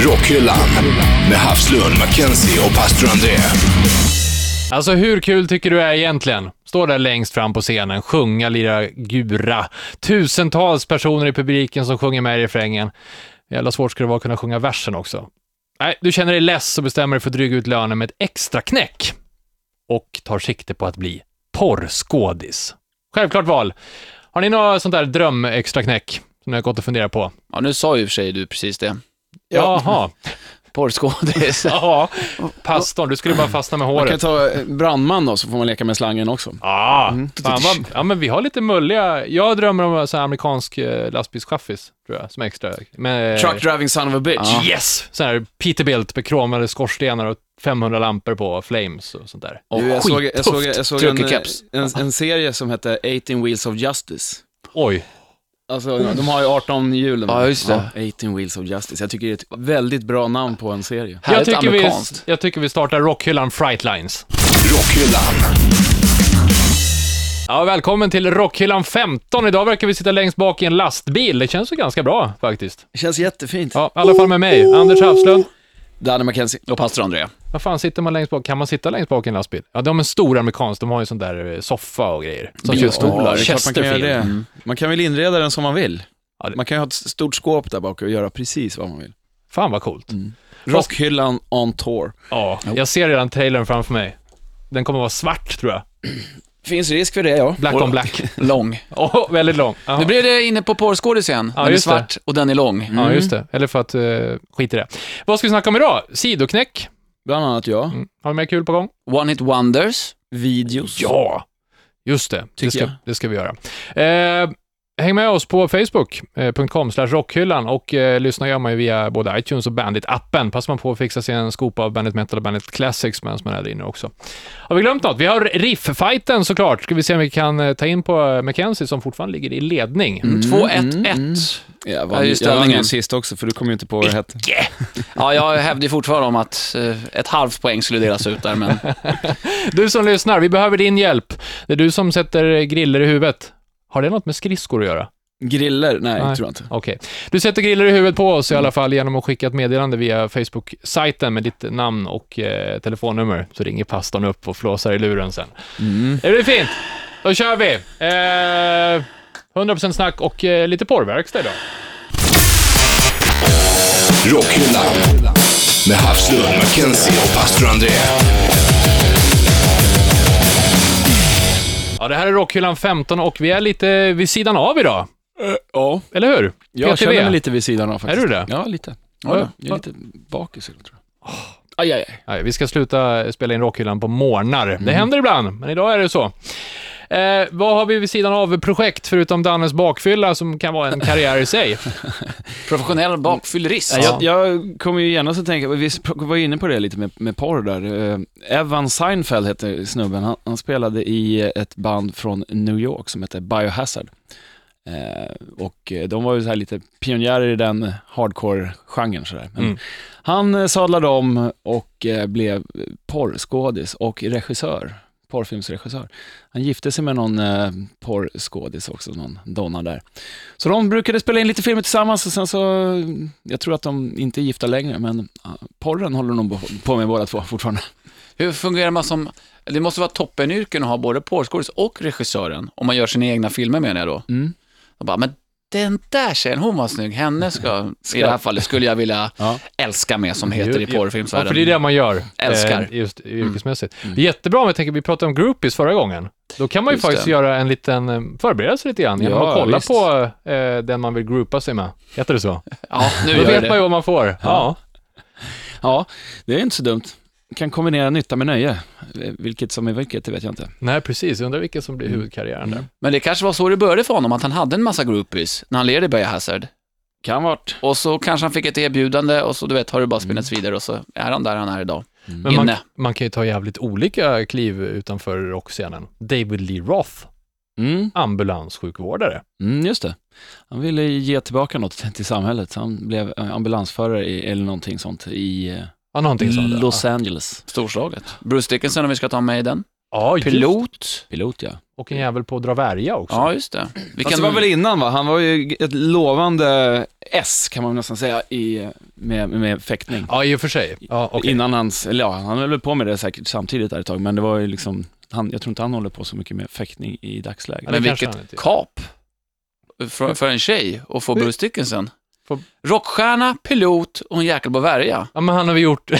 Rockhyllan med Havslund, Mackenzie och pastor André. Alltså hur kul tycker du är egentligen? Stå där längst fram på scenen, sjunga, lira gura. Tusentals personer i publiken som sjunger med i refrängen. Jävla svårt skulle det vara att kunna sjunga versen också. Nej, du känner dig less och bestämmer dig för att dryga ut lönen med ett extra knäck. Och tar sikte på att bli porrskådis. Självklart val. Har ni något sånt där drömextra knäck som ni har gått och funderat på? Ja, nu sa ju i och för sig du precis det. Jaha, Porrskådis. ja. Pastorn, du skulle bara fastna med Man håret. kan ta eh, brandman då, så får man leka med slangen också. Ah, fan vad, ja, men vi har lite mulliga. Jag drömmer om så här amerikansk eh, lastbilschaffis, tror jag, som extra. Med, Truck driving son of a bitch. Ja. Yes! Sån här Peterbilt med kromade skorstenar och 500 lampor på flames och sånt där. Du, jag, såg, jag, såg, jag såg en, eh, Truckercaps. en, en serie som hette 18 Wheels of Justice. Oj. Alltså, de har ju 18 hjul. de här. Ja, just det. Ja, 18 Wheels of Justice. Jag tycker det är ett väldigt bra namn på en serie. Jag Härligt tycker, vi, amerikanskt. jag tycker vi startar rockhyllan Frightlines. Rockhyllan, Ja, välkommen till Rockhyllan 15. Idag verkar vi sitta längst bak i en lastbil. Det känns ju ganska bra faktiskt. Det känns jättefint. Ja, i alla fall med mig, Anders Hafslund. Danny McKenzie. Och pastor André. Vad fan sitter man längst bak? Kan man sitta längst bak i en lastbil? Ja, de är stora amerikansk, de har ju sån där eh, soffa och grejer. Som Bilstolar, det är klart man kan göra Chesterfield. det. Man kan väl inreda den som man vill. Ja, det- Man kan ju ha ett stort skåp där bak och göra precis vad man vill. Fan vad coolt. Rockhyllan on tour. Ja, jag ser redan trailern framför mig. Den kommer vara svart tror jag. Finns risk för det, ja. Black on black. Lång. Åh, väldigt lång. Ja. Nu blev det inne på porrskådis igen. Ja, den är just det. Mm. svart och den är lång. Mm. ja, just det. Eller för att, uh, skit i det. Vad ska vi snacka om idag? Sidoknäck. Bland annat jag. Mm. Har vi mer kul på gång? One hit wonders. Videos. Ja! Just det, det Tycker ska, jag. det ska vi göra. Eh, häng med oss på facebook.com slash rockhyllan och eh, lyssna gör man ju via både iTunes och Bandit-appen. Passar man på att fixa sig en skopa av Bandit Metal och Bandit Classics medan man är där inne också. Har vi glömt något? Vi har riff-fighten såklart. Ska vi se om vi kan eh, ta in på eh, Mackenzie som fortfarande ligger i ledning. Mm, Mm, 2-1-1. Jag Ja, vann, just jag vann ställningen. ju sist också, för du kom ju inte på vad det hette. Ja, jag hävdar ju fortfarande om att eh, ett halvt poäng skulle delas ut där, men Du som lyssnar, vi behöver din hjälp. Det är du som sätter griller i huvudet. Har det något med skridskor att göra? Griller? Nej, Nej. tror jag inte. Okej. Du sätter griller i huvudet på oss i alla fall genom att skicka ett meddelande via Facebook-sajten med ditt namn och eh, telefonnummer, så ringer pastorn upp och flåsar i luren sen. Mm. Det blir fint! Då kör vi! Eh, 100% snack och eh, lite porrverkstad idag. Rockhyllan med Havslund, Mackenzie och pastor André. Ja, det här är Rockhyllan 15 och vi är lite vid sidan av idag, Ja, eller hur? jag känner mig lite vid sidan av faktiskt. Är du det? Ja, lite. Oj då. jag är lite bakis idag, tror jag. Aj, aj, aj. Nej, vi ska sluta spela in Rockhyllan på morgnar. Mm. Det händer ibland, men idag är det så. Eh, vad har vi vid sidan av projekt, förutom Dannes bakfylla, som kan vara en karriär i sig? professionell bakfyllerist. Ja, Jag, jag kommer ju genast att tänka, vi sp- var ju inne på det lite med, med porr där. Eh, Evan Seinfeld hette snubben, han, han spelade i ett band från New York som hette Biohazard. Eh, och eh, de var ju så här lite pionjärer i den hardcore-genren sådär. Men Mm. Han eh, sadlade om och eh, blev porrskådis och regissör, porrfilmsregissör. Han gifte sig med någon eh, porrskådis också, någon donna där. Så de brukade spela in lite filmer tillsammans och sen så, jag tror att de inte är gifta längre, men ja, porren håller de nog på med båda två fortfarande. Hur fungerar man som... Det måste vara toppenyrken att ha både porrskådis och regissören, om man gör sina egna filmer menar jag då. Mm. Och bara, men den där tjejen, hon var snygg. Henne ska, i det här fallet, skulle jag vilja Ja. älska med, som heter i Ja, Ja, porrfilmsvärlden. för det är det man gör. Älskar. Mm. Eh, just yrkesmässigt. Det är jättebra om jag tänker, vi pratade om groupies förra gången. Då kan man ju Just faktiskt det. göra en liten eh, förberedelse lite grann genom Ja, att kolla visst. på eh, den man vill groupa sig med. Heter det så? Ja, nu Då gör jag vet man ju det. vad man får. Ja. Ja, det är inte så dumt. Kan kombinera nytta med nöje. Eh, Vilket som är vilket, det vet jag inte. Nej, precis. Jag undrar vilken som Mm. blir huvudkarriären där. Men det kanske var så det började för honom, att han hade en massa groupies när han led i Biohazard. Kan vart. Och så kanske han fick ett erbjudande och så du vet, har det bara spinnats vidare och så är han där han är idag. Mm. Men man, Inne. man kan ju ta jävligt olika kliv utanför rockscenen. David Lee Roth, Mm, ambulanssjukvårdare. mm, just det. Han ville ge tillbaka något till samhället, så han blev eh, ambulansförare i, eller någonting sånt i eh, Ja, någonting sånt. där. Los Angeles. Storslaget. Bruce Dickinson om vi ska ta med i den. Ja, just. Pilot. Pilot ja. Och en jävel på att dra värja också. Ja, just det. Vi Fast det var väl innan va? Han var ju ett lovande S kan man nästan säga i, eh, med, med fäktning. Ja, i och för sig. Ja, okej. Innan hans, eller ja, han höll väl på med det säkert samtidigt där ett tag, men det var ju liksom, han, jag tror inte han håller på så mycket med fäktning i dagsläget. Ja, det Men kanske vilket han inte gör. kap för, för en tjej och få Bruce Dickinson. Får- Rockstjärna, pilot och en jäkel på värja. Ja, men han har vi gjort...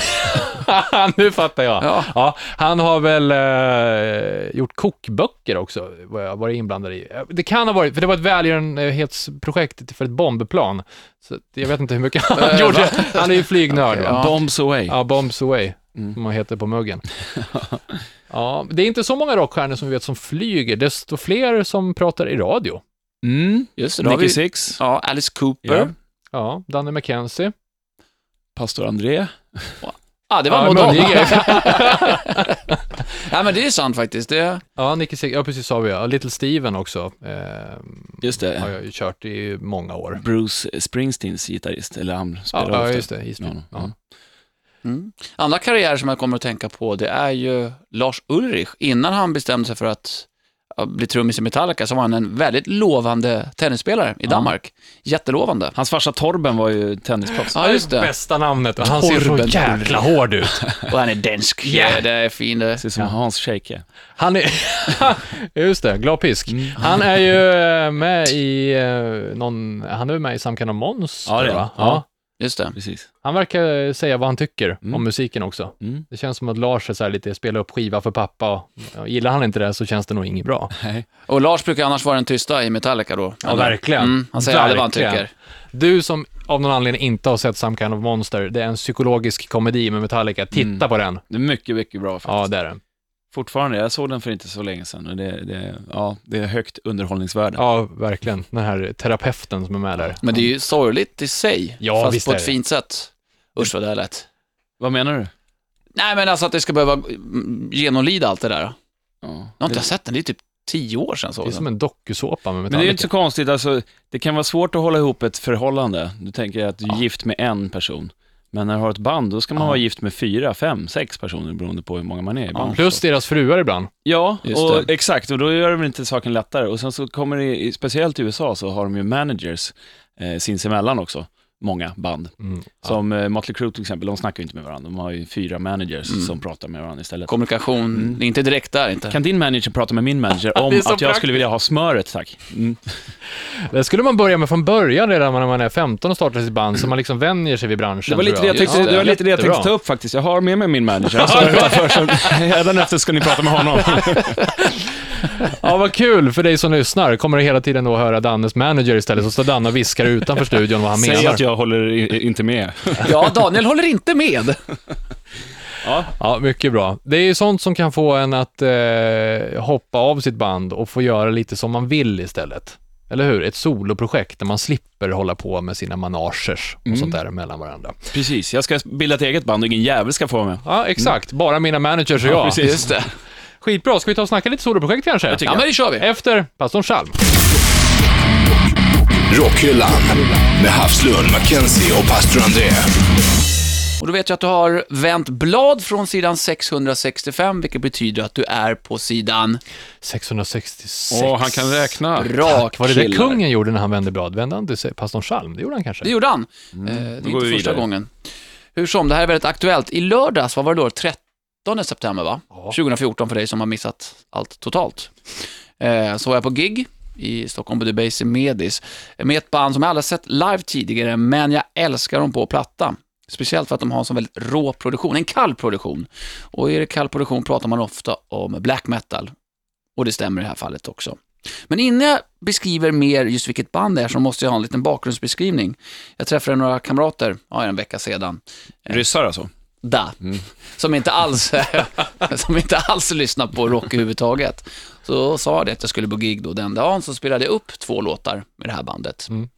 nu fattar jag. Ja. Ja, han har väl eh, gjort kokböcker också, vad jag varit inblandad i. Eh, Det kan ha varit, för det var ett välgörenhetsprojekt för ett bombplan. Så att jag vet inte hur mycket han Eh, gjorde. va? Han är ju flygnörd. Okej, va? ja. Bombs away. Ja, Bombs Away, Mm. som man heter på muggen. ja, det är inte så många rockstjärnor som vi vet som flyger, desto fler som pratar i radio. Mm. Just det, då har Nicky vi... Six, Ja, Alice Cooper. Ja. Ja, Ja, Danny McKenzie. Pastor André. ah, det var ja, nog dem. Mugge. Ja, men det är sant faktiskt. Det... ja, Nicky Sig- ja, precis sa vi ja. Little Steven också. Ehm, Just det. har jag ju kört i många år. Bruce Springsteens gitarrist, eller han Ja, spelar ja ofta. just det. Isbjörn. Ja. Ja, ja. Mm. Andra karriärer som jag kommer att tänka på, det är ju Lars Ulrich. Innan han bestämde sig för att ja, bli trummis i Metallica så var han en väldigt lovande tennisspelare i Danmark. Jättelovande. Hans farsa Torben var ju tennisproffs. Ja, just det. Bästa namnet och han ser så Torben jäkla hård ut. Och han är dansk. Ja. Det är fint. det. Precis som Hans Scheike. Han är, just det, glad pisk. Han är ju eh, med i eh, någon, han är ju med i Samkan och Monster Ja, det är va? han. Ja. Just det. Precis. Han verkar eh, säga vad han tycker Mm. om musiken också. Mm. Det känns som att Lars är så här lite spela upp skiva för pappa och ja, gillar han inte det så känns det nog inget bra. Nej. Och Lars brukar annars vara den tysta i Metallica då. Ja, verkligen. Mm, han säger aldrig vad han Verkligen. tycker. Du som av någon anledning inte har sett Some Kind of Monster, det är en psykologisk komedi med Metallica. Titta Mm. på den. Det är mycket, mycket bra faktiskt. Ja, det är den. Fortfarande, jag såg den för inte så länge sedan och det, det, ja, det är högt underhållningsvärde. Ja, verkligen. Den här terapeuten som är med där. Men det är ju sorgligt i sig, Ja, fast visst på är ett det. fint sätt. Usch vad det här lät. Vad menar du? Nej, men alltså att det ska behöva mm, genomlida allt det där. Ja. Jag har inte det, sett den, det är typ tio år sedan Det är såg som den. en dokusåpa med men det är ju inte Metallica. så konstigt, alltså, det kan vara svårt att hålla ihop ett förhållande. Du tänker att du är Ja. gift med en person, men när du har ett band, då ska man Ja. vara gift med fyra, fem, sex personer beroende på hur många man är i band. Plus deras fruar ibland. Ja, Just och, det. exakt. Och då gör det väl inte saken lättare. Och sen så kommer det, i- speciellt i USA, så har de ju managers eh, sinsemellan också, många band. Mm. Som eh, Motley Crue till exempel, de snackar ju inte med varandra. De har ju fyra managers Mm. som pratar med varandra istället. Kommunikation, det är inte direkt där inte. Kan din manager prata med min manager om Det är att så jag praktiskt. skulle vilja ha smöret, tack? Mm. Det skulle man börja med från början redan när man är 15 och startar sitt band, så man liksom vänjer sig vid branschen. Det var lite tror det jag tänkte, Just det var lite det jag tänkte Jättebra. ta upp faktiskt. Jag har med mig min manager, han står utanför, så hädanefter ska ni prata med honom. Ja, vad kul för dig som lyssnar. Kommer du hela tiden då höra Dannes manager istället, så står Danne och viskar utanför studion vad han Säg menar. att jag håller i, inte med. Ja, Daniel håller inte med. Ja, mycket bra. Det är ju sånt som kan få en att eh, hoppa av sitt band och få göra lite som man vill istället. Eller hur? Ett soloprojekt där man slipper hålla på med sina managers och Mm. sånt där mellan varandra. Precis, jag ska bilda ett eget band och ingen jävel ska få vara med. Ja, exakt. Mm. Bara mina managers och Ja, jag. precis. Just det. Skitbra. Ska vi ta och snacka lite soloprojekt kanske? Ja, men det kör vi. Efter pastorn Chalm. Rockhyllan med Havslund, Mackenzie och pastor André. Och då vet jag att du har vänt blad från sidan 665, vilket betyder att du är på sidan... 666. Åh, han kan räkna. Bra, Var det det Killar. kungen gjorde när han vände blad? Vände han till sig- pastorn Chalm? Det gjorde han kanske? Det gjorde han. Eh, det är inte Mm. går första vi vidare. gången. Hur som, det här är väldigt aktuellt. I lördags, vad var det då? 13 september va? Ja. 2014 för dig som har missat allt totalt. Eh, så var jag på gig i Stockholm på The Base i Medis med ett band som jag aldrig sett live tidigare, men jag älskar dem på platta. Speciellt för att de har en sån väldigt rå produktion, en kall produktion. Och är det kall produktion pratar man ofta om black metal. Och det stämmer i det här fallet också. Men innan jag beskriver mer just vilket band det är så måste jag ha en liten bakgrundsbeskrivning. Jag träffade några kamrater, ja, en vecka sedan, Ryssar alltså? da, som, inte alls, som inte alls lyssnar på rock överhuvudtaget. Så sa jag det att jag skulle på gig då den dagen, så spelade jag upp två låtar med det här bandet. Mm.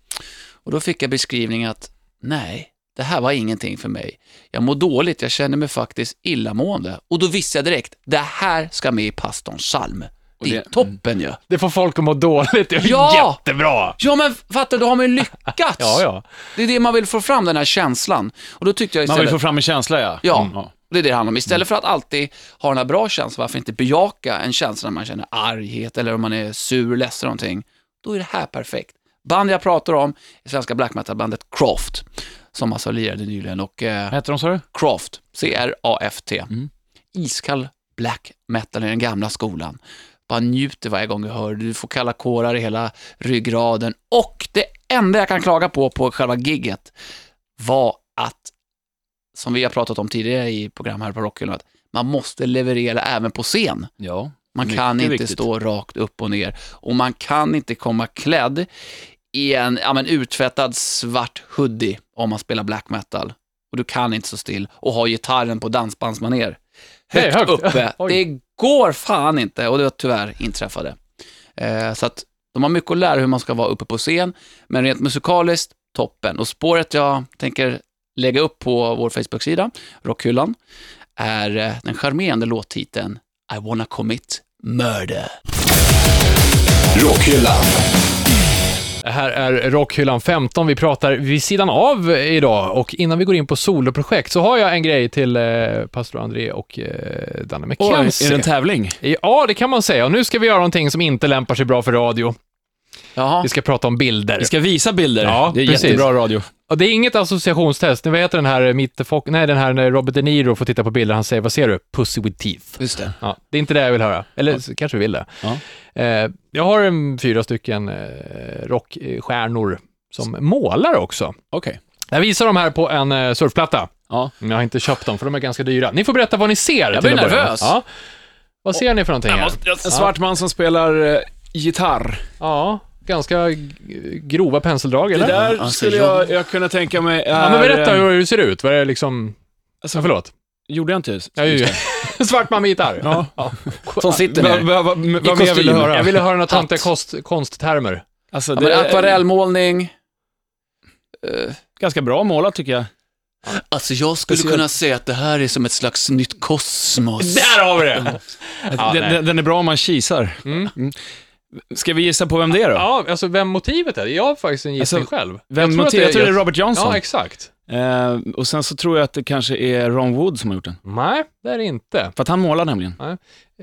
Och då fick jag beskrivningen att, nej, det här var ingenting för mig. Jag mår dåligt, jag känner mig faktiskt illamående. Och då visste jag direkt, det här ska med i pastorns psalm. Det är det- toppen ju. Ja. Det får folk att må dåligt. Det är Ja! jättebra! Ja men fattar du, då har man ju lyckats. Ja, ja. Det är det man vill få fram, den här känslan. Och då tyckte jag Man vill istället... få fram en känsla, ja. Ja. Mm, ja. Det är det det handlar om. Istället för att alltid ha den här bra känslan, varför inte bejaka en känsla när man känner arghet eller om man är sur, ledsen eller någonting. Då är det här perfekt. Band jag pratar om är svenska black metal-bandet Croft, som alltså lirade nyligen och eh, Vad heter de, sa du? Croft, C-R-A-F-T. Mm. Iskall black metal i den gamla skolan. Bara njuter varje gång du hör Du får kalla kårar i hela ryggraden. Och det enda jag kan klaga på, på själva gigget var att, som vi har pratat om tidigare i program här på Rockhyllan, att man måste leverera även på scen. Ja. Man Mycket kan inte viktigt. stå rakt upp och ner och man kan inte komma klädd i en ja, men uttvättad svart hoodie om man spelar black metal. Och du kan inte stå still och ha gitarren på dansbandsmanér. Det är Högt, högt. uppe. Oj. Det går fan inte och det var tyvärr inträffade. Eh, så att de har mycket att lära hur man ska vara uppe på scen, men rent musikaliskt, toppen. Och spåret jag tänker lägga upp på vår Facebook-sida, Rockhyllan, är eh, den charmerande låttiteln I wanna commit murder. Rockhyllan. Det här är Rockhyllan 15. Vi pratar vid sidan av idag och innan vi går in på soloprojekt så har jag en grej till eh, pastor André och eh, Danne Oj, är det McKenzie. en tävling? ja, det kan man säga. Och nu ska vi göra någonting som inte lämpar sig bra för radio. Jaha, Vi ska prata om bilder. Vi ska visa bilder. Ja, det är precis. jättebra radio. Och det är inget associationstest. Ni vet den här Mittefock... Nej, den här när Robert De Niro får titta på bilder. Han säger, vad ser du? Pussy with teeth. just det. Ja, det är inte det jag vill höra. Eller så kanske vi vill det. Ja. Eh, jag har en, fyra stycken eh, rockstjärnor som målar också. Okej. Jag visar dem här på en eh, surfplatta. Ja. Jag har inte köpt dem, för de är ganska dyra. Ni får berätta vad ni ser. Jag till blir att börja med. nervös. Ja. Vad ser ni för någonting här? En svart man som spelar eh, gitarr. Ja, ganska g- grova penseldrag, Det eller? där alltså, skulle jag, jag kunna tänka mig är, Ja, men berätta eh, hur det ser ut. Vad är det liksom... Ja, förlåt. Gjorde jag inte just Ja, ju. Svart man med gitarr. Ja. Som sitter Vad- nu. vad- vad- Vad mer kostym. vill du höra? Jag ville höra några töntiga Hatt. kost, konsttermer. Alltså, Ja, det men är akvarellmålning. Eh, ganska bra målat tycker jag. Alltså jag skulle Speciellt- kunna säga att det här är som ett slags nytt kosmos. har vi det! Ja, Mm. den, nej. den- den är bra om man kisar. Mm. Ska vi gissa på vem det är då? Ja, alltså vem motivet är? Jag har faktiskt en gissning Alltså, själv. Vem jag, tror jag tror det är Robert Johnson. Ja, exakt. eh, och sen så tror jag att det kanske är Ron Wood som har gjort den. Nej, det är det inte. För att han målar nämligen.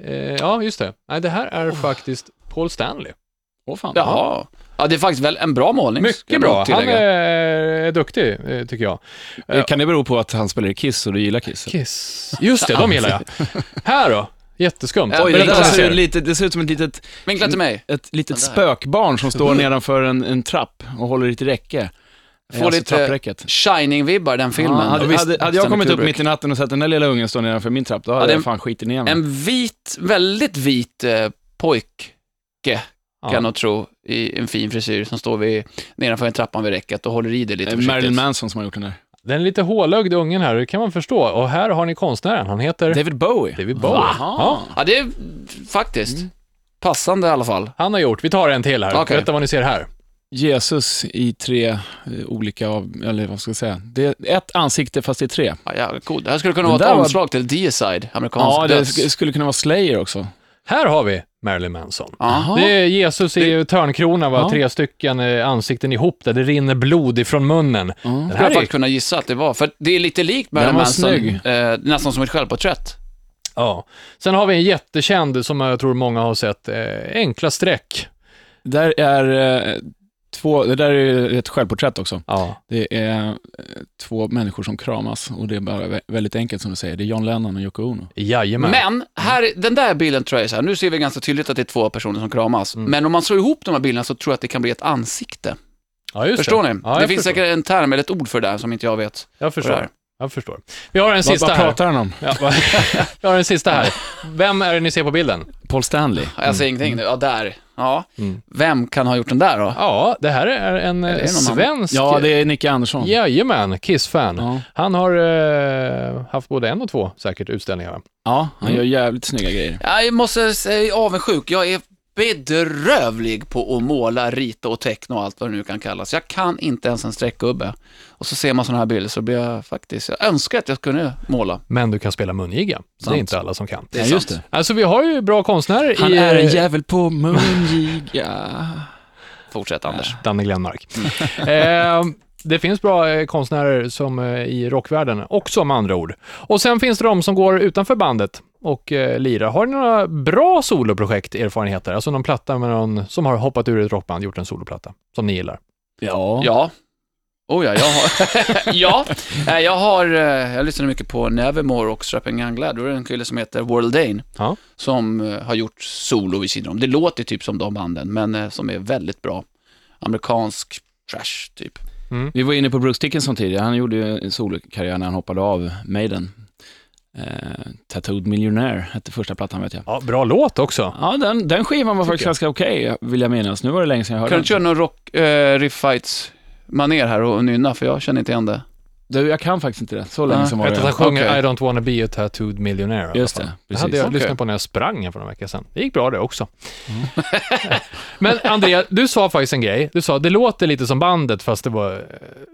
Eh, ja, just det. Nej, det här är faktiskt Paul Stanley. Åh fan. Jaha. Ja, det är faktiskt väl en bra målning. ska Mycket jag bra. Han tillägga. är, är duktig, eh, tycker jag. Eh, Kan det bero på att han spelar i Kiss och du gillar Kiss? eller? Kiss. Just det, de gillar jag. Här då? Jätteskumt. Oj, Men det, Berätta där vad ni ser, ju ser. lite, det ser ut som ett litet, Vinkla till mig. ett Den litet där. spökbarn som står nedanför en, en trapp och håller i ett räcke. Eh, alltså Får lite- trappräcket. Shining-vibbar, den filmen. Ja, hade, Ja, visst, hade, hade jag Stanley kommit upp Kubrick. mitt i natten och sett den där lilla ungen stå nedanför min trapp, då hade det är jag en- fan skitit ner mig. En vit, väldigt vit eh, pojke, kan jag Ja. nog tro, i en fin frisyr som står vid, nedanför en trappan vid räcket och håller i det lite Eh, försiktigt. Marilyn Manson som har gjort den där. Den lite hålögd ungen här, det kan man förstå. Och här har ni konstnären, han heter David Bowie. David Bowie. Ja. Jaha. Mm. Ja, det är faktiskt passande i alla fall. Han har gjort, vi tar en till här. Okej. Berätta vad ni ser här. Jesus i tre eh, olika, av- eller vad ska jag säga, det är ett ansikte fast det är tre. Ja, ja, cool. Det här skulle kunna Den vara där ett var- omslag till Deicide, amerikansk Ja, det döds. sk- skulle kunna vara Slayer också. Här har vi Marilyn Manson. Ja. Det är Jesus i törnkrona, va? Ja. tre stycken eh, ansikten ihop där, det rinner blod ifrån munnen. Den Det skulle här jag är, faktiskt kunna gissa att det var, för det är lite likt Marilyn Den var Manson, snygg. eh, nästan som ett självporträtt. ja. Sen har vi en jättekänd som jag tror många har sett, eh, enkla streck. Där är eh, två, det där är ett självporträtt också. Ja. Det är eh, två människor som kramas och det är bara vä- väldigt enkelt som du säger. Det är John Lennon och Yoko Ono. Jajamän. Men här, den där bilden tror jag är så här, nu ser vi ganska tydligt att det är två personer som kramas, men om man slår ihop de här bilderna så tror jag att det kan bli ett ansikte. ja, Mm. just Förstår det. ni? Ja, jag det finns förstår. säkert en term eller ett ord för det här som inte jag vet. Jag vad det förstår. är. Jag förstår. Vi har en Vad, sista vad här. pratar han om? Ja, va- vi har en sista här. Vem är det ni ser på bilden? Paul Stanley. Ja, Jag säger ingenting nu. Ja, där. Ja. Mm. Vem kan ha gjort den där då? Ja, det här är en eh, Är det någon svensk... Ja, det är Nicke Andersson. Jajamän, Kiss-fan. Ja. Han har eh, haft både en och två säkert utställningar. va? ja, han gör jävligt snygga grejer. Jag måste säga avundsjuk. Jag är bedrövlig på att måla, rita och teckna och allt vad det nu kan kallas. Jag kan inte ens en streckgubbe. Och så ser man sådana här bilder så blir jag faktiskt, jag önskar att jag kunde måla. Men du kan spela mungiga. Det Sant. är inte alla som kan. Det är ja, just sant. det. Alltså vi har ju bra konstnärer Han i... är en jävel på mungiga. Fortsätt Anders. Danne Glenmark. eh, det finns bra eh, konstnärer som eh, i rockvärlden också med andra ord. Och sen finns det de som går utanför bandet och eh, lirar. Har ni några bra soloprojekt erfarenheter? Alltså någon platta med någon som har hoppat ur ett rockband, gjort en soloplatta som ni gillar. Ja. Ja. Oh ja, jag har... ja, Eh, jag har... eh, Jag lyssnar mycket på Nevermore och Strapping Young Lad. Då är det en kille som heter World Dane Ja. som eh, har gjort solo vid sidan om. Det låter typ som de banden, men eh, som är väldigt bra. Amerikansk trash, typ. Vi var inne på Bruce Dickinson tidigare. Han gjorde ju en solokarriär när han hoppade av Maiden. Eh, Tattooed Millionaire hette första plattan vet jag. Ja, bra låt också. Ja, den, den skivan var faktiskt ganska okej, vill jag minnas. Nu var det länge sedan jag hörde Kan du inte köra någon rock, eh, riff fights maner här och nynna, för jag känner inte igen det. den. Du, jag kan faktiskt inte det. Så länge Nej. sedan Jag var vet att han det. sjunger Okej. I don't wanna be a tattooed millionaire. i alla Just fall. det, Det hade precis. jag Okej. lyssnat på när jag sprang här för några veckor sedan. Det gick bra det också. Mm. Men Andrea, du sa faktiskt en grej. Du sa det låter lite som bandet fast det var... eh,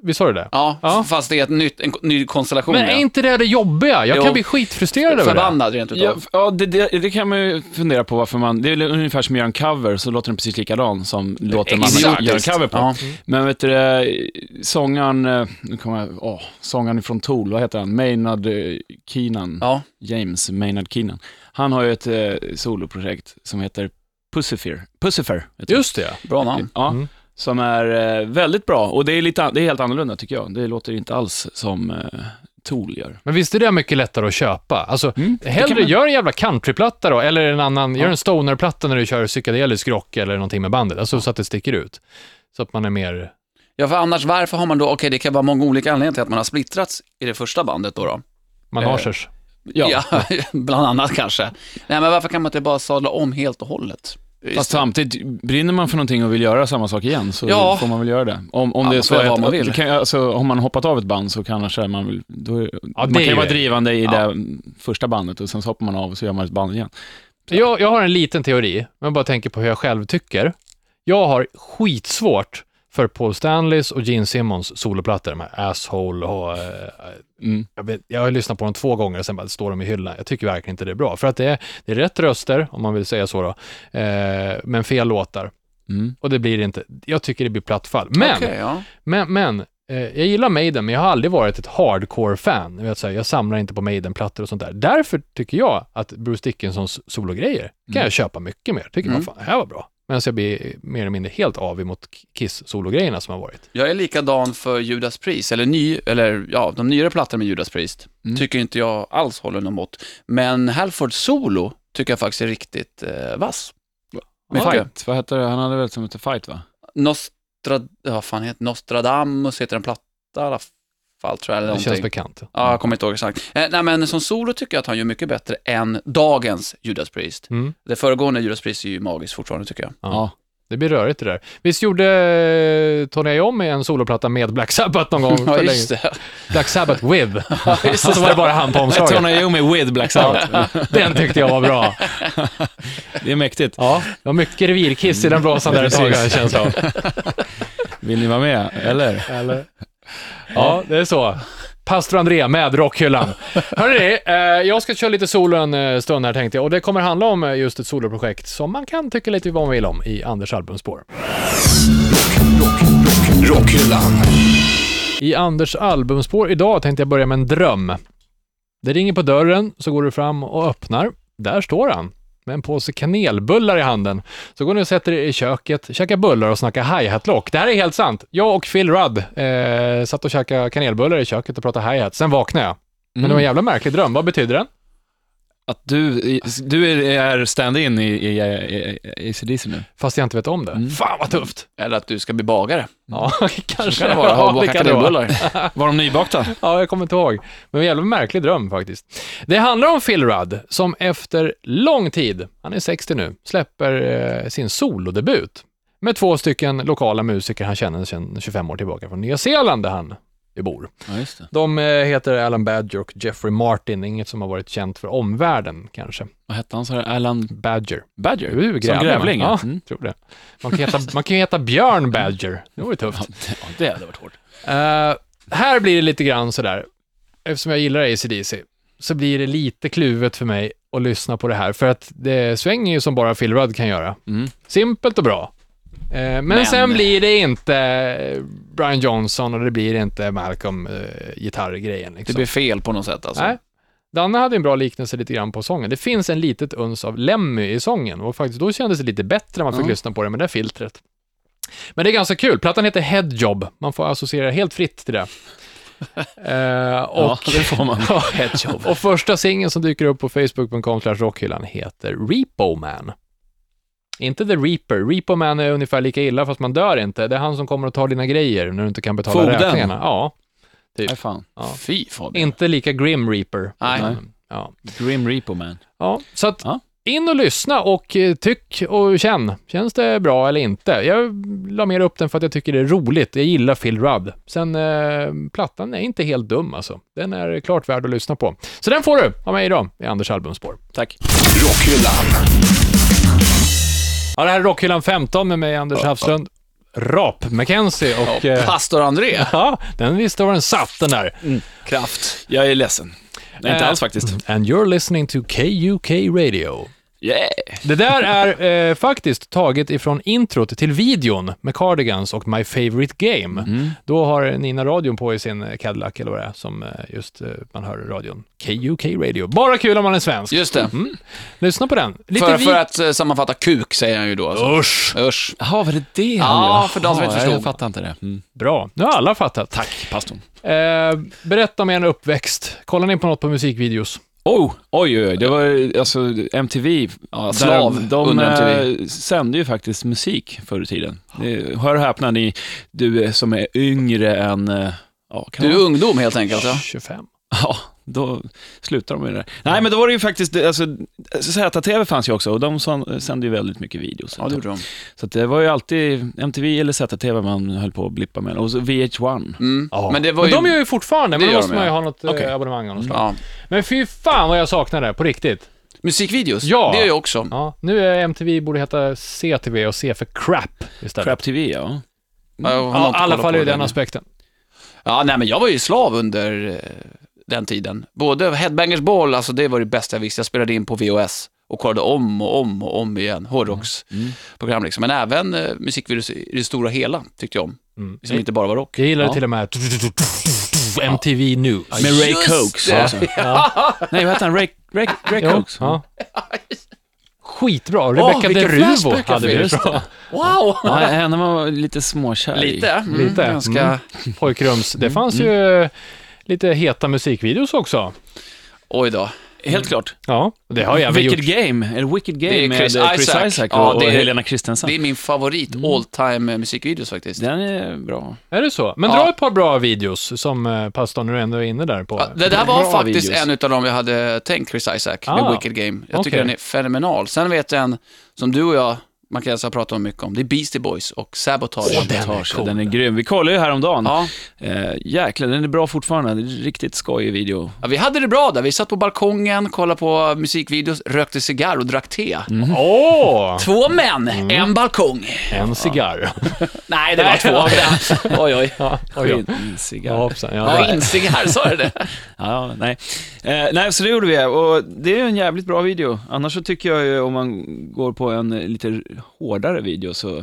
Visst sa du det? Ja, Ja. fast det är ett nytt, en k- ny konstellation. Men är inte det det jobbiga? Jag Jo. kan bli skitfrustrerad ja. över det. Förbannad rent utav. Ja, f- ja det, det, det kan man ju fundera på varför man, det är väl ungefär som att göra en cover, så låter den precis likadan som låten man Exakt. gör en cover på. Ja. Men vet du det, sångaren, eh, nu kommer jag, åh, sångaren från Tool, vad heter han? Maynard eh, Keenan, Ja. James Maynard Keenan. Han har ju ett eh, soloprojekt som heter Pussifer, Pussifer heter Just det. bra det. namn. Ja, Mm. som är eh, väldigt bra och det är, lite, an- det är helt annorlunda tycker jag. Det låter inte alls som eh, Tool gör. Men visst är det mycket lättare att köpa? Alltså, Mm, det hellre kan man- gör en jävla countryplatta då, eller en annan, gör en stonerplatta när du kör psykedelisk rock eller någonting med bandet, alltså så att det sticker ut. Så att man är mer... Ja, för annars varför har man då, okej det kan vara många olika anledningar till att man har splittrats i det första bandet då. då. Man Eh. har sig. Ja, bland annat kanske. Nej, men varför kan man inte bara sadla om helt och hållet? Fast samtidigt, brinner man för någonting och vill göra samma sak igen så Ja. får man väl göra det. Om, om Ja, det är man så får göra vad att, man vill. det Kan, alltså, om man hoppat av ett band så kanske man vill, då, man det är kan ju ju vara det. drivande i Ja. det första bandet och sen så hoppar man av och så gör man ett band igen. Jag, jag har en liten teori, men jag bara tänker på hur jag själv tycker. Jag har skitsvårt för Paul Stanleys och Gene Simmons soloplattor, de här Asshole och... eh, Mm. jag, vet, jag har lyssnat på dem två gånger och sen bara står de i hyllan. Jag tycker verkligen inte det är bra, för att det är, det är rätt röster, om man vill säga så då, eh, men fel låtar. Mm. Och det blir inte, jag tycker det blir platt fall. Men, Okej, ja. men, men, eh, jag gillar Maiden, men jag har aldrig varit ett hardcore-fan. Jag, vet, så här, jag samlar inte på Maiden-plattor och sånt där. Därför tycker jag att Bruce Dickinsons sologrejer kan jag köpa mycket mer. Tycker Mm. man fan, det här var bra. Medan jag blir mer eller mindre helt av emot Kiss-sologrejerna som har varit. Jag är likadan för Judas Priest, eller, ny, eller ja, de nyare plattorna med Judas Priest. Mm. Tycker inte jag alls håller något mått. Men Halford Solo tycker jag faktiskt är riktigt eh, vass. Men fight, okej. vad hette det? Han hade väl som hette Fight va? Nostrad... Vad fan heter Nostradamus heter en platta i alla fall tror jag. Eller Det någonting. känns bekant. Ja, jag kommer inte ihåg exakt. Eh, nej, men som solo tycker jag att han gör mycket bättre än dagens Judas Priest. Mm. Det föregående Judas Priest är ju magiskt fortfarande tycker jag. Ja. Ja. Det blir rörigt det där. Visst gjorde eh, Tony Iommi en soloplatta med Black Sabbath någon gång? för Ja, länge. just det. Black Sabbath with. Och så var det bara han på omslaget. Tony Iommi with Black Sabbath. Den tyckte jag var bra. det är mäktigt. Ja, det var mycket revirkiss i den brasan där ett tag, har jag känns det Vill ni vara med? Eller? Eller? Ja, det är så. Pastor André med Rockhyllan. Hörrni, eh, jag ska köra lite solo en eh, stund här tänkte jag. Och det kommer handla om eh, just ett soloprojekt som man kan tycka lite vad man vill om i Anders albumspår. Rockhyllan. I Anders albumspår idag tänkte jag börja med en dröm. Det ringer på dörren, så går du fram och öppnar. Där står han, med en påse kanelbullar i handen. Så går ni och sätter er i köket, käkar bullar och snackar hi-hat-lock. Det här är helt sant. Jag och Phil Rudd eh, satt och käkade kanelbullar i köket och pratade hi-hat. Sen vaknade jag. Men det var Mm. en jävla märklig dröm. Vad betyder den? Att du, du är stand-in i, i, i, i ACDC nu. Fast jag inte vet om det. Mm. Fan vad tufft! Eller att du ska bli bagare. Ja, kanske. Mm. Så kan det vara. Ja, Ha det bakat kan det vara. kanelbullar. Var de nybakta? Ja, jag kommer inte ihåg. Men en jävla märklig dröm faktiskt. Det handlar om Phil Rudd, som efter lång tid, han är 60 nu, släpper eh, sin solodebut med två stycken lokala musiker han känner sedan 25 år tillbaka från Nya Zeeland, där han ju bor. Ja, just det. De eh, heter Alan Badger och Jeffrey Martin, inget som har varit känt för omvärlden kanske. Vad hette han, sa du? Alan Badger. Badger? Du, Som grävling? Ja, Mm. tror det. Man kan, heta, man kan ju heta Björn Badger. Det vore tufft. Ja, det, ja, det hade varit hårt. Eh, här blir det lite grann sådär, eftersom jag gillar ACDC, så blir det lite kluvet för mig att lyssna på det här, för att det svänger ju som bara Phil Rudd kan göra. Mm. Simpelt och bra. Eh, men, Men- sen blir det inte Brian Johnson och det blir inte Malcolm eh, gitarrgrejen. Det Liksom. blir fel på något sätt alltså. Nej. Danne hade en bra liknelse lite grann på sången. Det finns en litet uns av Lemmy i sången och faktiskt då kändes det lite bättre när man fick Ja. lyssna på det med det där filtret. Men det är ganska kul. Plattan heter Headjob. Man får associera helt fritt till det. Eh, Ja, och, det får man. Headjob. och första singeln som dyker upp på facebook.com slash rockhyllan heter Repo Man. Inte The Reaper. Repo Man är ungefär lika illa fast man dör inte. Det är han som kommer och tar dina grejer när du inte kan betala Fogden. räkningarna. Ja, Nej, fan. Fy Fabian. inte lika Grim Reaper. Nej. Men, Ja. Grim Reaper Man. Ja, så att Ja. in och lyssna och eh, tyck och känn. Känns det bra eller inte? Jag la mer upp den för att jag tycker det är roligt. Jag gillar Phil Rudd. Sen, eh, plattan är inte helt dum alltså. Den är klart värd att lyssna på. Så den får du av mig idag i Anders albumspår. Tack. Rockhyllan. Ja, det här är Rockhyllan 15 med mig, Anders Hafslund, Rap McKenzie och... eh, Pastor André. Ja, den visste var den satt den där. Kraft. Jag är ledsen. Nej, inte Eh, alls faktiskt. And you're listening to KUK Radio. Yeah. Det där är eh, faktiskt taget ifrån introt till videon med Cardigans och My Favorite Game. Mm. Då har Nina radion på i sin Cadillac eller vad det är, som eh, just eh, man hör i radion. KUK Radio. Bara kul om man är svensk. Just det. Lyssna på den. Mm. Lite För, vi- för att eh, sammanfatta kuk säger han ju då. Alltså. Usch! Usch. Jaha, var det det han Ja, gjorde? för de som inte Jaha, förstod. Jag fattar inte det. Mm. Bra, nu har alla fattat. Tack, pastorn. Eh, berätta om er uppväxt. Kollar ni på något på musikvideos? Oh, oj, oj, oj. Det var alltså MTV. Ja, där slav de under MTV. eh, sände ju faktiskt musik förr i tiden. Det, hör och häpna ni, du eh, som är yngre än... eh, Ja, kan Du är man- ungdom helt enkelt. Ja. 25. Ja, då slutar de med det där. Nej, men då var det ju faktiskt, alltså, ZTV fanns ju också och de som- sände ju väldigt mycket videos. Ja, det gjorde de. Så att det var ju alltid MTV eller ZTV man höll på att blippa med. Och så VH1. Mm. Ja. Men det var ju... de gör ju fortfarande, Det men då gör måste de, man ju ja. Mm. ha något eh, Okej. abonnemang av något slag. ja. Men fy fan vad jag saknar det, på riktigt. Musikvideos, Ja. det gör jag också. Ja, nu är MTV borde heta CTV och C för crap istället. Crap TV, ja. Jag har Ja, inte I alla kollat fall på ur det den nu. aspekten. Ja, nej men jag var ju slav under eh, den tiden. Både Headbangers Ball, alltså det var det bästa jag visste. Jag spelade in på VHS och kollade om och om och om igen. Mm. Hårdrocksprogram liksom. Men även eh, musikvideos i det stora hela tyckte jag om. Mm. Som inte bara var rock. Jag gillade Ja. till och med MTV News. Med Ray Just Cokes. det. Alltså. Nej, vad hette han? Ray, Ray, Ray Jo, Cokes? ja. Skitbra. Rebecca vilken de Ruvo flashback jag hade fick. vi. Wow! Ja, henne var lite småkär i. Lite. Mm, Lite. Ganska... Mm, Mm. Pojkrums. Det fanns ju lite heta musikvideos också. Oj då. Helt klart. Ja, det har jag även Wicked gjort. Game, eller Wicked Game Det är med Chris Chris Isaac, Isaac. och, Ja, det är- och Helena Christensen. Det är min favorit Mm. all time eh, musikvideos faktiskt. Den är bra. Är det så? Men Ja. dra ett par bra videos som eh, pastorn nu ändå är inne där på. Ja, det där var Bra faktiskt videos. en utav dem jag hade tänkt, Chris Isaac, Ah, med Wicked Game. Jag tycker okej. den är fenomenal. Sen vet jag en som du och jag, man kan alltså prata om mycket om, det är Beastie Boys och Sabotage. den är Sabotage, cool. Den är grym. Vi kollade ju häromdagen. Ja. Eh, jäklar, den är bra fortfarande. Det är en Riktigt skojig video. ja, vi hade det bra där. Vi satt på balkongen, kollade på musikvideos, rökte cigarr och drack te. Mm. Åh! Två män, en balkong. En cigarr. Nej, det var två. oj, oj. Ja, oj, oj. Ja, Skitcigarr. hoppsan. Ja, Ja. en cigarr, sa du det? Ja, nej. Eh, nej, så det gjorde vi och det är en jävligt bra video. Annars så tycker jag ju om man går på en eh, lite hårdare video så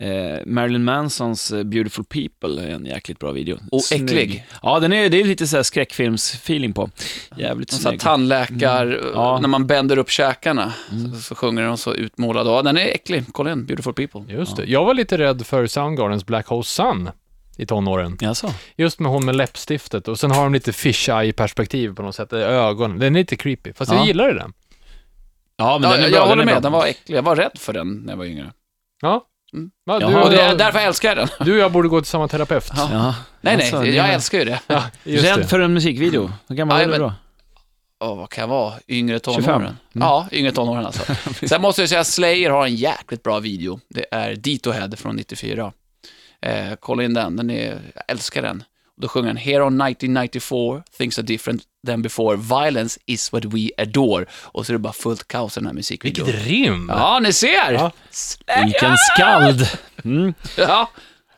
eh, Marilyn Mansons eh, Beautiful People är en jäkligt bra video. Och Snygg. äcklig. Ja, den är, det är lite så här skräckfilms-feeling på. Jävligt Så här snygg. tandläkar, Ja. när man bänder upp käkarna, så, så sjunger de så utmålade. Ja, den är äcklig. Kolla in, Beautiful People. Just det. Jag var lite rädd för Soundgardens Black Hole Sun i tonåren. Jaså? Just med hon med läppstiftet och sen har de lite fish eye perspektiv på något sätt, ögon. Den är lite creepy, fast jag Ja. gillade den. Ja, men Ja, den är jag bra. jag håller den är bra. med, den var äcklig. Jag var rädd för den när jag var yngre. Ja. Mm. Va, du, Jaha, och Och det är jag, därför jag älskar den. du och jag borde gå till samma terapeut. Ja. Ja. Nej, nej, Alltså, det jag är- älskar ju det. Ja, just Rädd det. för en musikvideo. Hur gammal Aj, var du men- då? Åh, vad kan jag vara? Yngre tonåren? 25. Ja, yngre tonåren alltså. Sen måste jag säga att Slayer har en jäkligt bra video. Det är Dito Head från 94. Eh, kolla in den, den är, jag älskar den. Då sjunger han “Here on 1994, things are different than before, violence is what we adore”. Och så är det bara fullt kaos i den här musikvideon. Vilket rim! Ja, ni ser! Ja. Slayer! Vilken skald! Mm. Ja.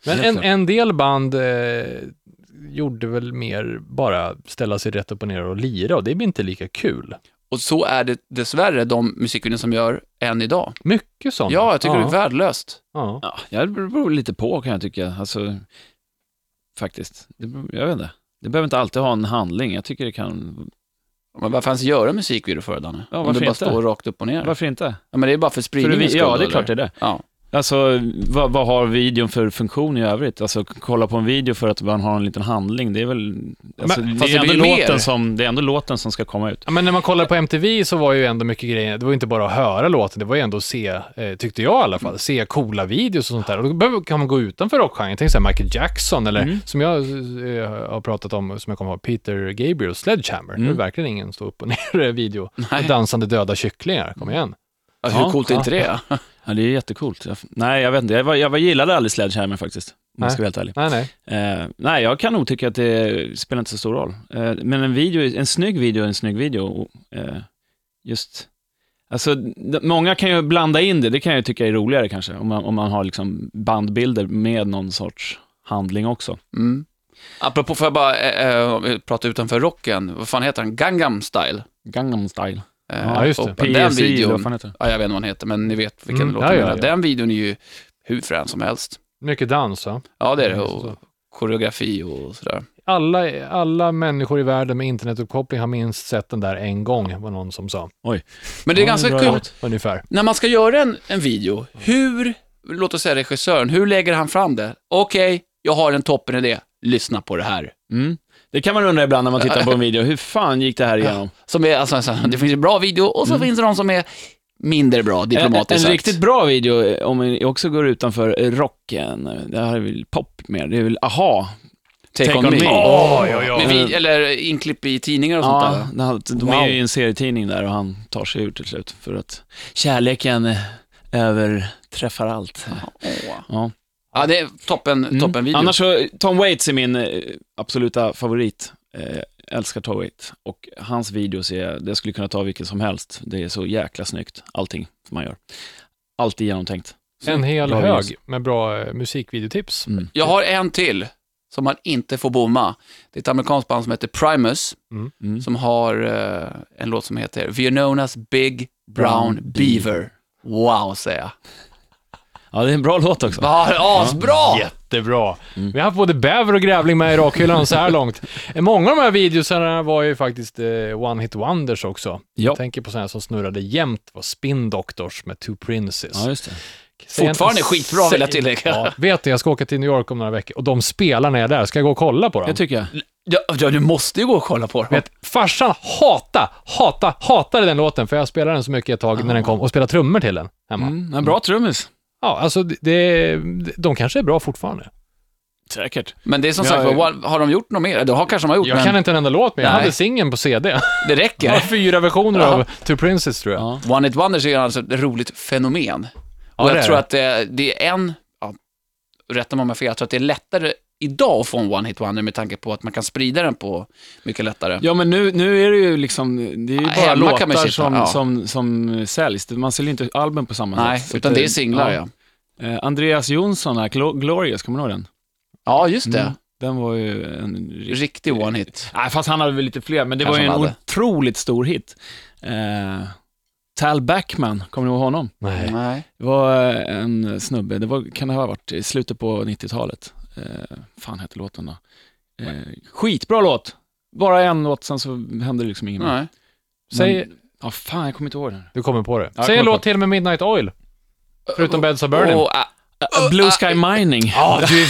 Men Helt en, klart. en del band eh, gjorde väl mer bara ställa sig rätt upp och ner och lira och det blir inte lika kul. Och så är det dessvärre de musikvideor som gör än idag. Mycket sånt. Ja, jag tycker det är värdelöst. ja. Ja, det beror lite på kan jag tycka. Alltså, faktiskt. Det beror, jag vet inte. Det behöver inte alltid ha en handling. Jag tycker det kan... Men varför ens göra musikvideo för det, Danne? Ja, Om varför det bara inte? står rakt upp och ner. Varför inte? Ja, men det är bara för För det, spridningens vi- skull, ja, det är eller? klart det är det. Ja. Alltså, vad, vad har videon för funktion i övrigt? Alltså, kolla på en video för att man har en liten handling, det är väl... Alltså, Men- det, fast är det ändå blir mer. låten som, det är ändå låten som ska komma ut. Ja, men när man kollar på MTV så var ju ändå mycket grejer, det var ju inte bara att höra låten, det var ju ändå att se, eh, tyckte jag i alla fall, se coola videos och sånt där. Och då behöver- kan man gå utanför rockgenren, tänk såhär Michael Jackson eller som jag eh, har pratat om, som jag kommer ihåg, Peter Gabriel, Sledgehammer. Det är verkligen ingen stå upp och ner-video. Nej. Dansande döda kycklingar, kom igen. Ja, hur Ja, coolt är inte det? Ja, det är jättecoolt. Jag, nej, jag vet inte. Jag, var, jag var, gillade aldrig Sledgehammer faktiskt, om jag Nej. ska vara helt ärlig. Nej, nej. Eh, nej, jag kan nog tycka att det spelar inte så stor roll. Eh, men en video, en snygg video är en snygg video. Och, eh, just... Alltså, d- många kan ju blanda in det, det kan jag ju tycka är roligare kanske, om man, om man har liksom bandbilder med någon sorts handling också. Mm. Apropå, får jag bara eh, eh, prata utanför rocken? Vad fan heter han? Gangnam style? Gangnam style. Eh, Ja, just det. och Den videon, heter det? ja, jag vet inte vad han heter, men ni vet vilken Mm, låt han ja, ja, ja, ja. Den videon är ju hur frän som helst. Mycket dans, va? Ja, det är det. Ja, så- Och koreografi och sådär. Alla, alla människor i världen med internetuppkoppling har minst sett den där en gång, var någon som sa. Oj. Men det är Ja, ganska bra kul. jobbat. Ungefär. När man ska göra en, en video, hur, låt oss säga regissören, hur lägger han fram det? Okej, jag har en toppen idé. Lyssna på det här. Mm. Det kan man undra ibland när man tittar på en video, hur fan gick det här igenom? Som är, alltså, alltså, det finns en bra video och så finns det de som är mindre bra, Mm. En, en diplomatiskt sagt. riktigt bra video, eh, om vi också går utanför eh, rocken, eh, det här är väl pop mer, det är väl aha. Take, on, me. Åh, ja, ja. Med vi, eller inklipp i tidningar och sånt Ja, där. det här- de Wow. är ju i en serietidning där och han tar sig ut till slut för att kärleken eh, överträffar allt. Åh. Ja. Ja, det är toppen, Mm. toppen video. Annars så, Tom Waits är min eh, absoluta favorit. Eh, älskar Tom Waits. Och hans videos är, det skulle kunna ta vilken som helst. Det är så jäkla snyggt, allting som man gör. Alltid genomtänkt. En hel Bra hög videos. med bra eh, musikvideotips. Mm. Jag har en till som man inte får bomma. Det är ett amerikanskt band som heter Primus, Mm. som har eh, en låt som heter Viononas Big Brown Beaver. Wow, säger jag. Ja, det är en bra låt också. Va, Asbra! Jättebra. Mm. Vi har haft både bäver och grävling med i rakhyllan så här långt. Många av de här videosarna var ju faktiskt eh, One Hit Wonders också. Ja. Jag tänker på sådana som snurrade jämt, var Spin Doctors med Two Princes. Ja, just det. Sen- Fortfarande skitbra, vill jag tillägga. Ja, vet du, jag ska åka till New York om några veckor och de spelar när jag är där. Ska jag gå och kolla på dem? Det tycker jag. Ja, ja, du måste ju gå och kolla på dem. Vet, farsan hata, hata, hatade den låten för jag spelade den så mycket ett tag när Ah. den kom och spelade trummor till den hemma. Mm, en bra trummis. Ja, alltså det, det, de kanske är bra fortfarande. Säkert. Men det är som Ja, sagt, ja. vad- har de gjort något mer? Det har kanske de har gjort, Jag men kan inte en enda låt med, jag Nej. hade singeln på CD. det Jag har räcker. fyra versioner Ja. av Two Princes tror jag. Ja. One Hit Wonders är alltså ett roligt fenomen. Ja, Och det jag är tror det. att det, det är en, ja, rätta mig om jag har fel, jag tror att det är lättare idag att få en One Hit Wonder med tanke på att man kan sprida den på mycket lättare. Ja, men nu, nu är det ju liksom, det är ju Ja, bara hemma kan man låtar köpa, som, ja. som, som säljs. Man säljer inte album på samma Nej, sätt. Så utan att, det är singlar ja. ja. Eh, Andreas Jonsson här, Glo- Glorious, kommer du ihåg den? Ja, just det. Mm. Den var ju en riktig... Riktig One Hit. Nej, fast han hade väl lite fler, men det Kanske var han ju en hade. otroligt stor hit. Eh, Tal Backman, kommer ni ihåg honom? Nej. Nej. Det var eh, en snubbe, det var, kan det ha varit i slutet på 90-talet. Eh, fan hette låten då? Eh, skitbra låt! Bara en låt, sen så hände det liksom inget mer. Nej. Säg, Men- Ja, fan jag kommer inte ihåg den. du kommer på det. jag Säg en kommer låt på till med Midnight Oil. Förutom Beds of Burden. Och, ah, Eh, Blue Sky Mining. Ja, du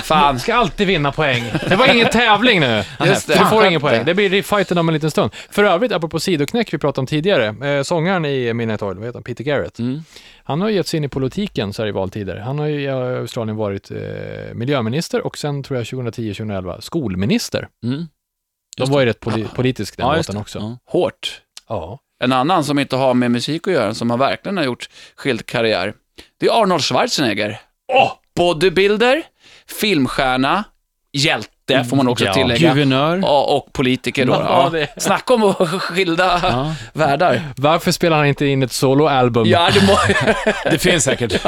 fan. ska alltid vinna poäng. Det var ingen tävling nu. Just det. Du får ingen Skönt poäng. det. Det blir fighten om en liten stund. För övrigt, apropå sidoknäck vi pratade om tidigare, eh, sångaren i Midnight Oil, vad heter han? Peter Garrett. Mm. Han har ju gett sig in i politiken så här i valtider. Han har ju i Australien varit eh, miljöminister och sen tror jag 2010-2011 skolminister. Mm. De var ju rätt poli- politisk den Ja, just låten det. också. Ja. Hårt. Ja. En annan som inte har med musik att göra, som har verkligen har gjort skild karriär, det är Arnold Schwarzenegger. Åh! Bodybuilder, filmstjärna, hjälte får man också Ja. tillägga. Guvernör. Ja, och politiker då. Ja, Ja, det- Snacka om skilda Ja. världar. Varför spelar han inte in ett soloalbum? Ja, det må... Det finns säkert.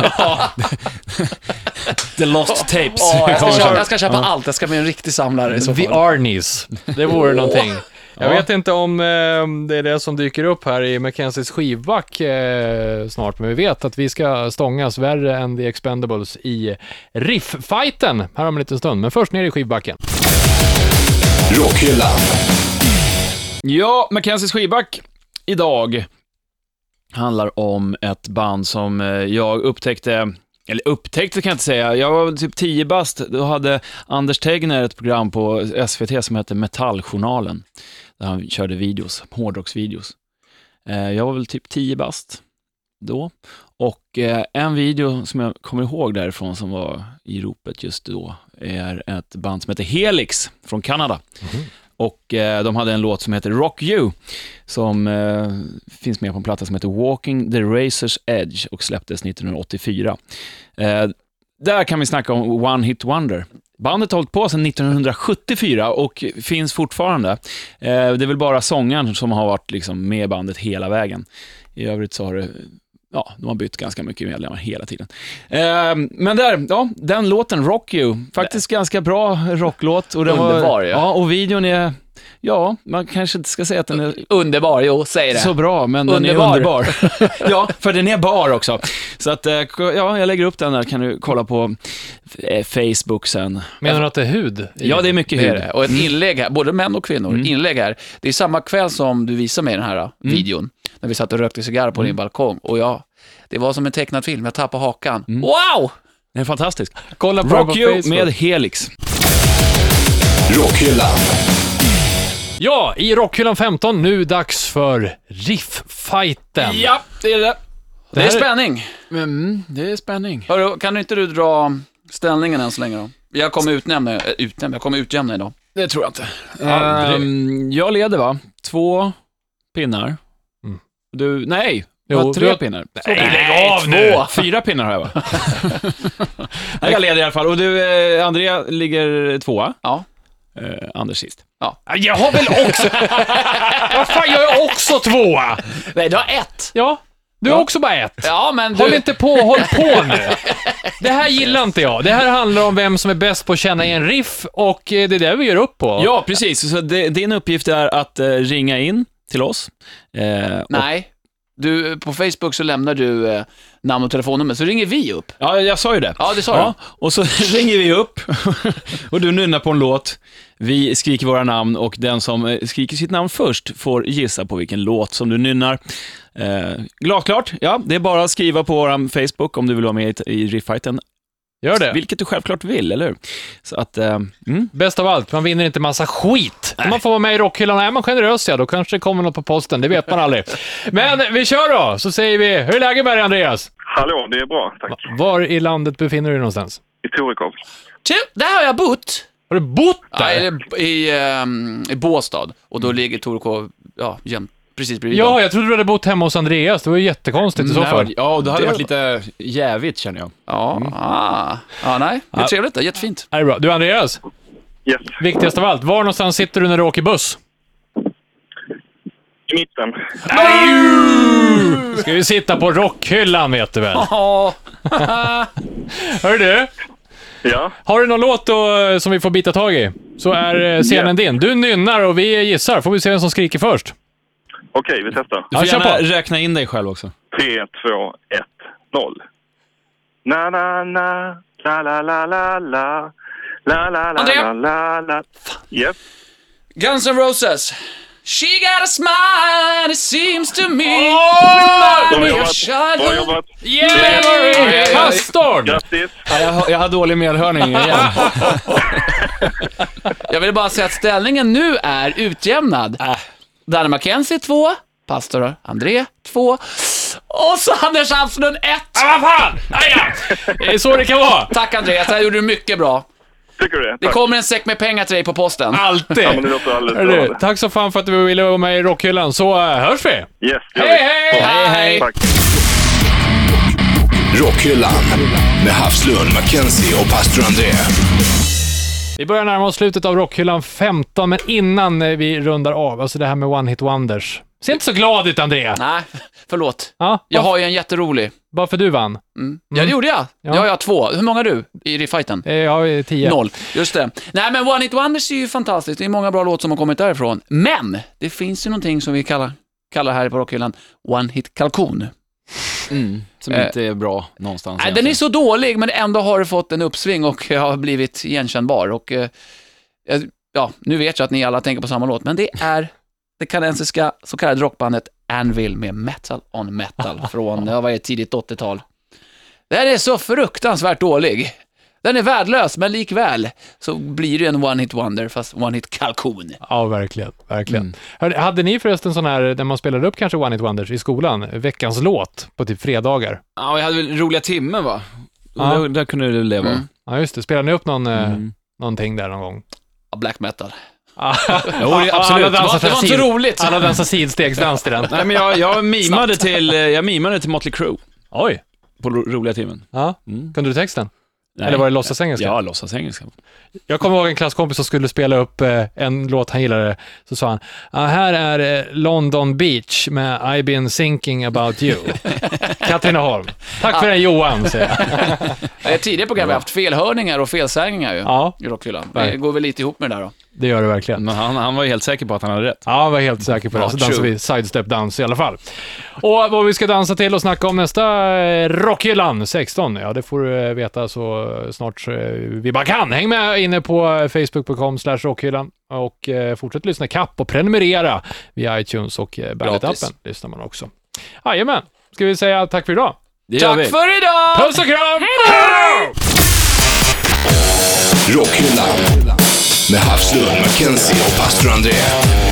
The Lost Tapes. Åh, jag, ska Kommer köpa, sen. jag ska köpa allt, jag ska bli en riktig samlare i så The fall. Arnies. Det vore någonting. Jag vet inte om eh, det är det som dyker upp här i Mackenzies skivback eh, snart, men vi vet att vi ska stångas värre än The Expendables i riff-fighten här om en liten stund. Men först ner i skivbacken. Rockhyllan. Ja, Mackenzies skivback idag handlar om ett band som eh, jag upptäckte, eller upptäckte kan jag inte säga, jag var typ 10 bast, då hade Anders Tegner ett program på SVT som hette Metalljournalen, där han körde videos, hårdrocksvideos. Eh, Jag var väl typ 10 bast då, och eh, en video som jag kommer ihåg därifrån som var i ropet just då, är ett band som heter Helix från Kanada. Och eh, de hade en låt som heter Rock You, som eh, finns med på en platta som heter Walking the Razor's Edge och släpptes 1984. Eh, där kan vi snacka om One Hit Wonder. Bandet har hållit på sedan 1974 och finns fortfarande. Eh, det är väl bara sångaren som har varit liksom med i bandet hela vägen. I övrigt så har det, ja, de har bytt ganska mycket medlemmar hela tiden. Eh, men där, ja, den låten, Rock You, faktiskt ganska bra rocklåt. Och den Underbar var, ju. Ja, och videon är, ja, man kanske inte ska säga att den är Underbar, jo, säg det. så bra, men den Underbar. är underbar. ja, för den är bar också. Så att, eh, ja, jag lägger upp den där, kan du kolla på eh, Facebook sen. Menar du att det är hud? i- Ja, det är mycket Det är hud. Mm. det. Och ett inlägg här, både män och kvinnor, inlägg här. Det är samma kväll som du visade mig den Mm. här videon, när vi satt och rökte cigarr på din balkong. Och jag, det var som en tecknad film, jag tappade hakan. Mm. Wow! Den är fantastisk. Kolla på den Rock på You Facebook. med Helix. Rockhyllan. Ja, i Rockhyllan 15, nu dags för riff-fighten. Ja, det är det. Det här är är- spänning. Mm, det är spänning. Hörru, kan inte du dra ställningen än så länge då? Jag kommer utnämna, eh, äh, utnämna, jag kommer utjämna idag. Det tror jag inte. Aldrig. Ehm, jag leder va? Två pinnar. Mm. Du, nej, Jo, jo, du tre har- pinnar. Två Nej, pinnar. lägg av nu! Två. Fyra pinnar har jag va? nej, jag leder i alla fall. Och du, eh, Andrea ligger tvåa. Ja. Eh, Anders sist. Jag har väl också... Vad fan, jag är också tvåa! Nej, du har ett. Ja, du har också bara ett. Ja, men du... Håll inte på, håll på nu. Det här gillar inte jag. Det här handlar om vem som är bäst på att känna igen riff och eh, det är det vi gör upp på. Ja, precis. Så det, din uppgift är att eh, ringa in till oss. Eh, och- Nej. Du, på Facebook så lämnar du eh, namn och telefonnummer, så ringer vi upp. Ja, jag sa ju det. Ja, det sa Ja, och så ringer vi upp och du nynnar på en låt. Vi skriker våra namn och den som eh, skriker sitt namn först får gissa på vilken låt som du nynnar. Eh, glasklart, ja, det är bara att skriva på vår Facebook om du vill vara med i, i Rifffighten, Gör det. vilket du självklart vill, eller hur? Så att, eh, mm. Bäst av allt, man vinner inte massa skit. Men Man får vara med i rockhyllan. Är man generös, ja, då kanske det kommer något på posten. Det vet man aldrig. Men vi kör då, så säger vi, hur är läget med dig, Andreas? Hallå, det är bra, tack. Var i landet befinner du dig någonstans? I Torekov. du. Där har jag bott. Har du bott Ja, där? Mm. eller i, ehm, i Båstad. Och då ligger Torekov ja, jämt, precis bredvid. Ja, dem. jag trodde du hade bott hemma hos Andreas. Det var ju jättekonstigt i så fall. Ja, det hade varit lite jävigt känner jag. ja. Mm. Ah. ja nej. Det är trevligt. Det är jättefint. Ja, det är bra. Du, Andreas, Yes, viktigast av allt, var någonstans sitter du när du åker buss? i mitten. Ska vi sitta på rockhyllan, vet du väl? Ja, Hör du? Ja, Har du någon låt då, eh, som vi får bita tag i? Så är eh, scenen din. Du nynnar och vi gissar. Får vi se vem som skriker först. okej, vi testar. Du får Ja, kör gärna på. räkna in dig själv också. 3, 2, 1, 0. Na, na, na, la, la, la, la, la. La, la, la, Andrea? la, la, la. Yes, Guns N' Roses. She got a smile, it seems to me. bra Remind me of jobbat. Bra childhood. jobbat. Memory! Pastorn! Grattis. jag, har, dålig medhörning igen. Jag vill bara säga att ställningen nu är utjämnad. Danne Mackenzie 2, pastor André 2 och så Anders Alfslund 1. Vad fan! Aja! Det är så det kan vara. Tack Andreas, det här gjorde du mycket bra. Tycker du det? Det Tack. kommer en säck med pengar till dig på posten. Ja, men det Alltid! låter alldeles Hörru, bra. tack så fan för att du ville vara med i Rockhyllan, så eh, hörs vi! Yes, det gör Hej, hej! vi. Bra. Hej, hej. Tack. Rockhyllan. Med Havslund, Mackenzie och pastor André. Vi börjar närma oss slutet av Rockhyllan 15, men innan eh, vi rundar av, alltså det här med One Hit Wonders. Se inte så glad ut, André! Nej, förlåt. Ja, Jag bara, har ju en jätterolig. bara för du vann. Mm. Ja, det gjorde jag. Ja. ja, jag har två. Hur många har du i det fighten? Eh, Jag har eh, tio. Noll. Just det. Nej, men One It Wonders är ju fantastiskt. Det är många bra låtar som har kommit därifrån. Men, det finns ju någonting som vi kallar, kallar här på Rockhyllan One Hit Kalkon. Som Eh, inte är bra någonstans Nej, den är egentligen. så dålig, men ändå har det fått en uppsving och eh, har blivit igenkännbar. Och, eh, eh, ja, nu vet jag att ni alla tänker på samma låt, men det är det kanadensiska så kallade rockbandet Anvil med Metal on Metal från, ja, vad är det, tidigt 80-tal. Den är så fruktansvärt dålig. Den är värdelös, men likväl så blir det en one-hit wonder, fast one-hit kalkon. Ja, verkligen. verkligen. Mm. Hörde, hade ni förresten sån här, när man spelade upp kanske One It Wonders i skolan, veckans låt på typ fredagar? Ja, vi hade väl roliga timmen va? Ja. Där, där kunde du leva. Mm. Ja, just det. Spelade ni upp någon, eh, någonting där någon gång? Ja, Black metal. Jo, det, absolut. Alla Det var, dansar det var inte sid- roligt. Alla dansar sidstegsdans till den. Nej, men jag, jag, mimade till, eh, jag mimade till Motley Crue Oj! på ro, roliga timmen. Ja. Mm. Kunde du texten? Nej. Eller var det låtsasengelska? Ja, låtsas engelska. Jag kommer ihåg en klasskompis som skulle spela upp eh, en låt han gillade. Så sa han, ah, här är eh, London Beach med I've been thinking about you. Katrineholm. Tack för den Johan, säger jag. Eh, Tidigare program har vi haft felhörningar och felsägningar ju. Ja, I rockhyllan. Det Verkligen. går väl lite ihop med det där då. det gör det verkligen. Men han, han var ju helt säker på att han hade rätt. Ja, jag var helt säker på det. Ja, Så dansar true. vi sidestep-dans i alla fall. Och vad vi ska dansa till och snacka om nästa eh, Rockhyllan 16, ja det får du eh, veta så eh, snart eh, vi bara kan. Häng med inne på eh, facebook.com slash rockhyllan och eh, fortsätt lyssna kapp och prenumerera via iTunes och eh, Bandit-appen. Gratis. lyssnar man också. Jajamän, ska vi säga tack för idag. Det gör vi. Tack för idag! Puss och kram! Rockhyllan med Havslund, Mackenzie och pastor André.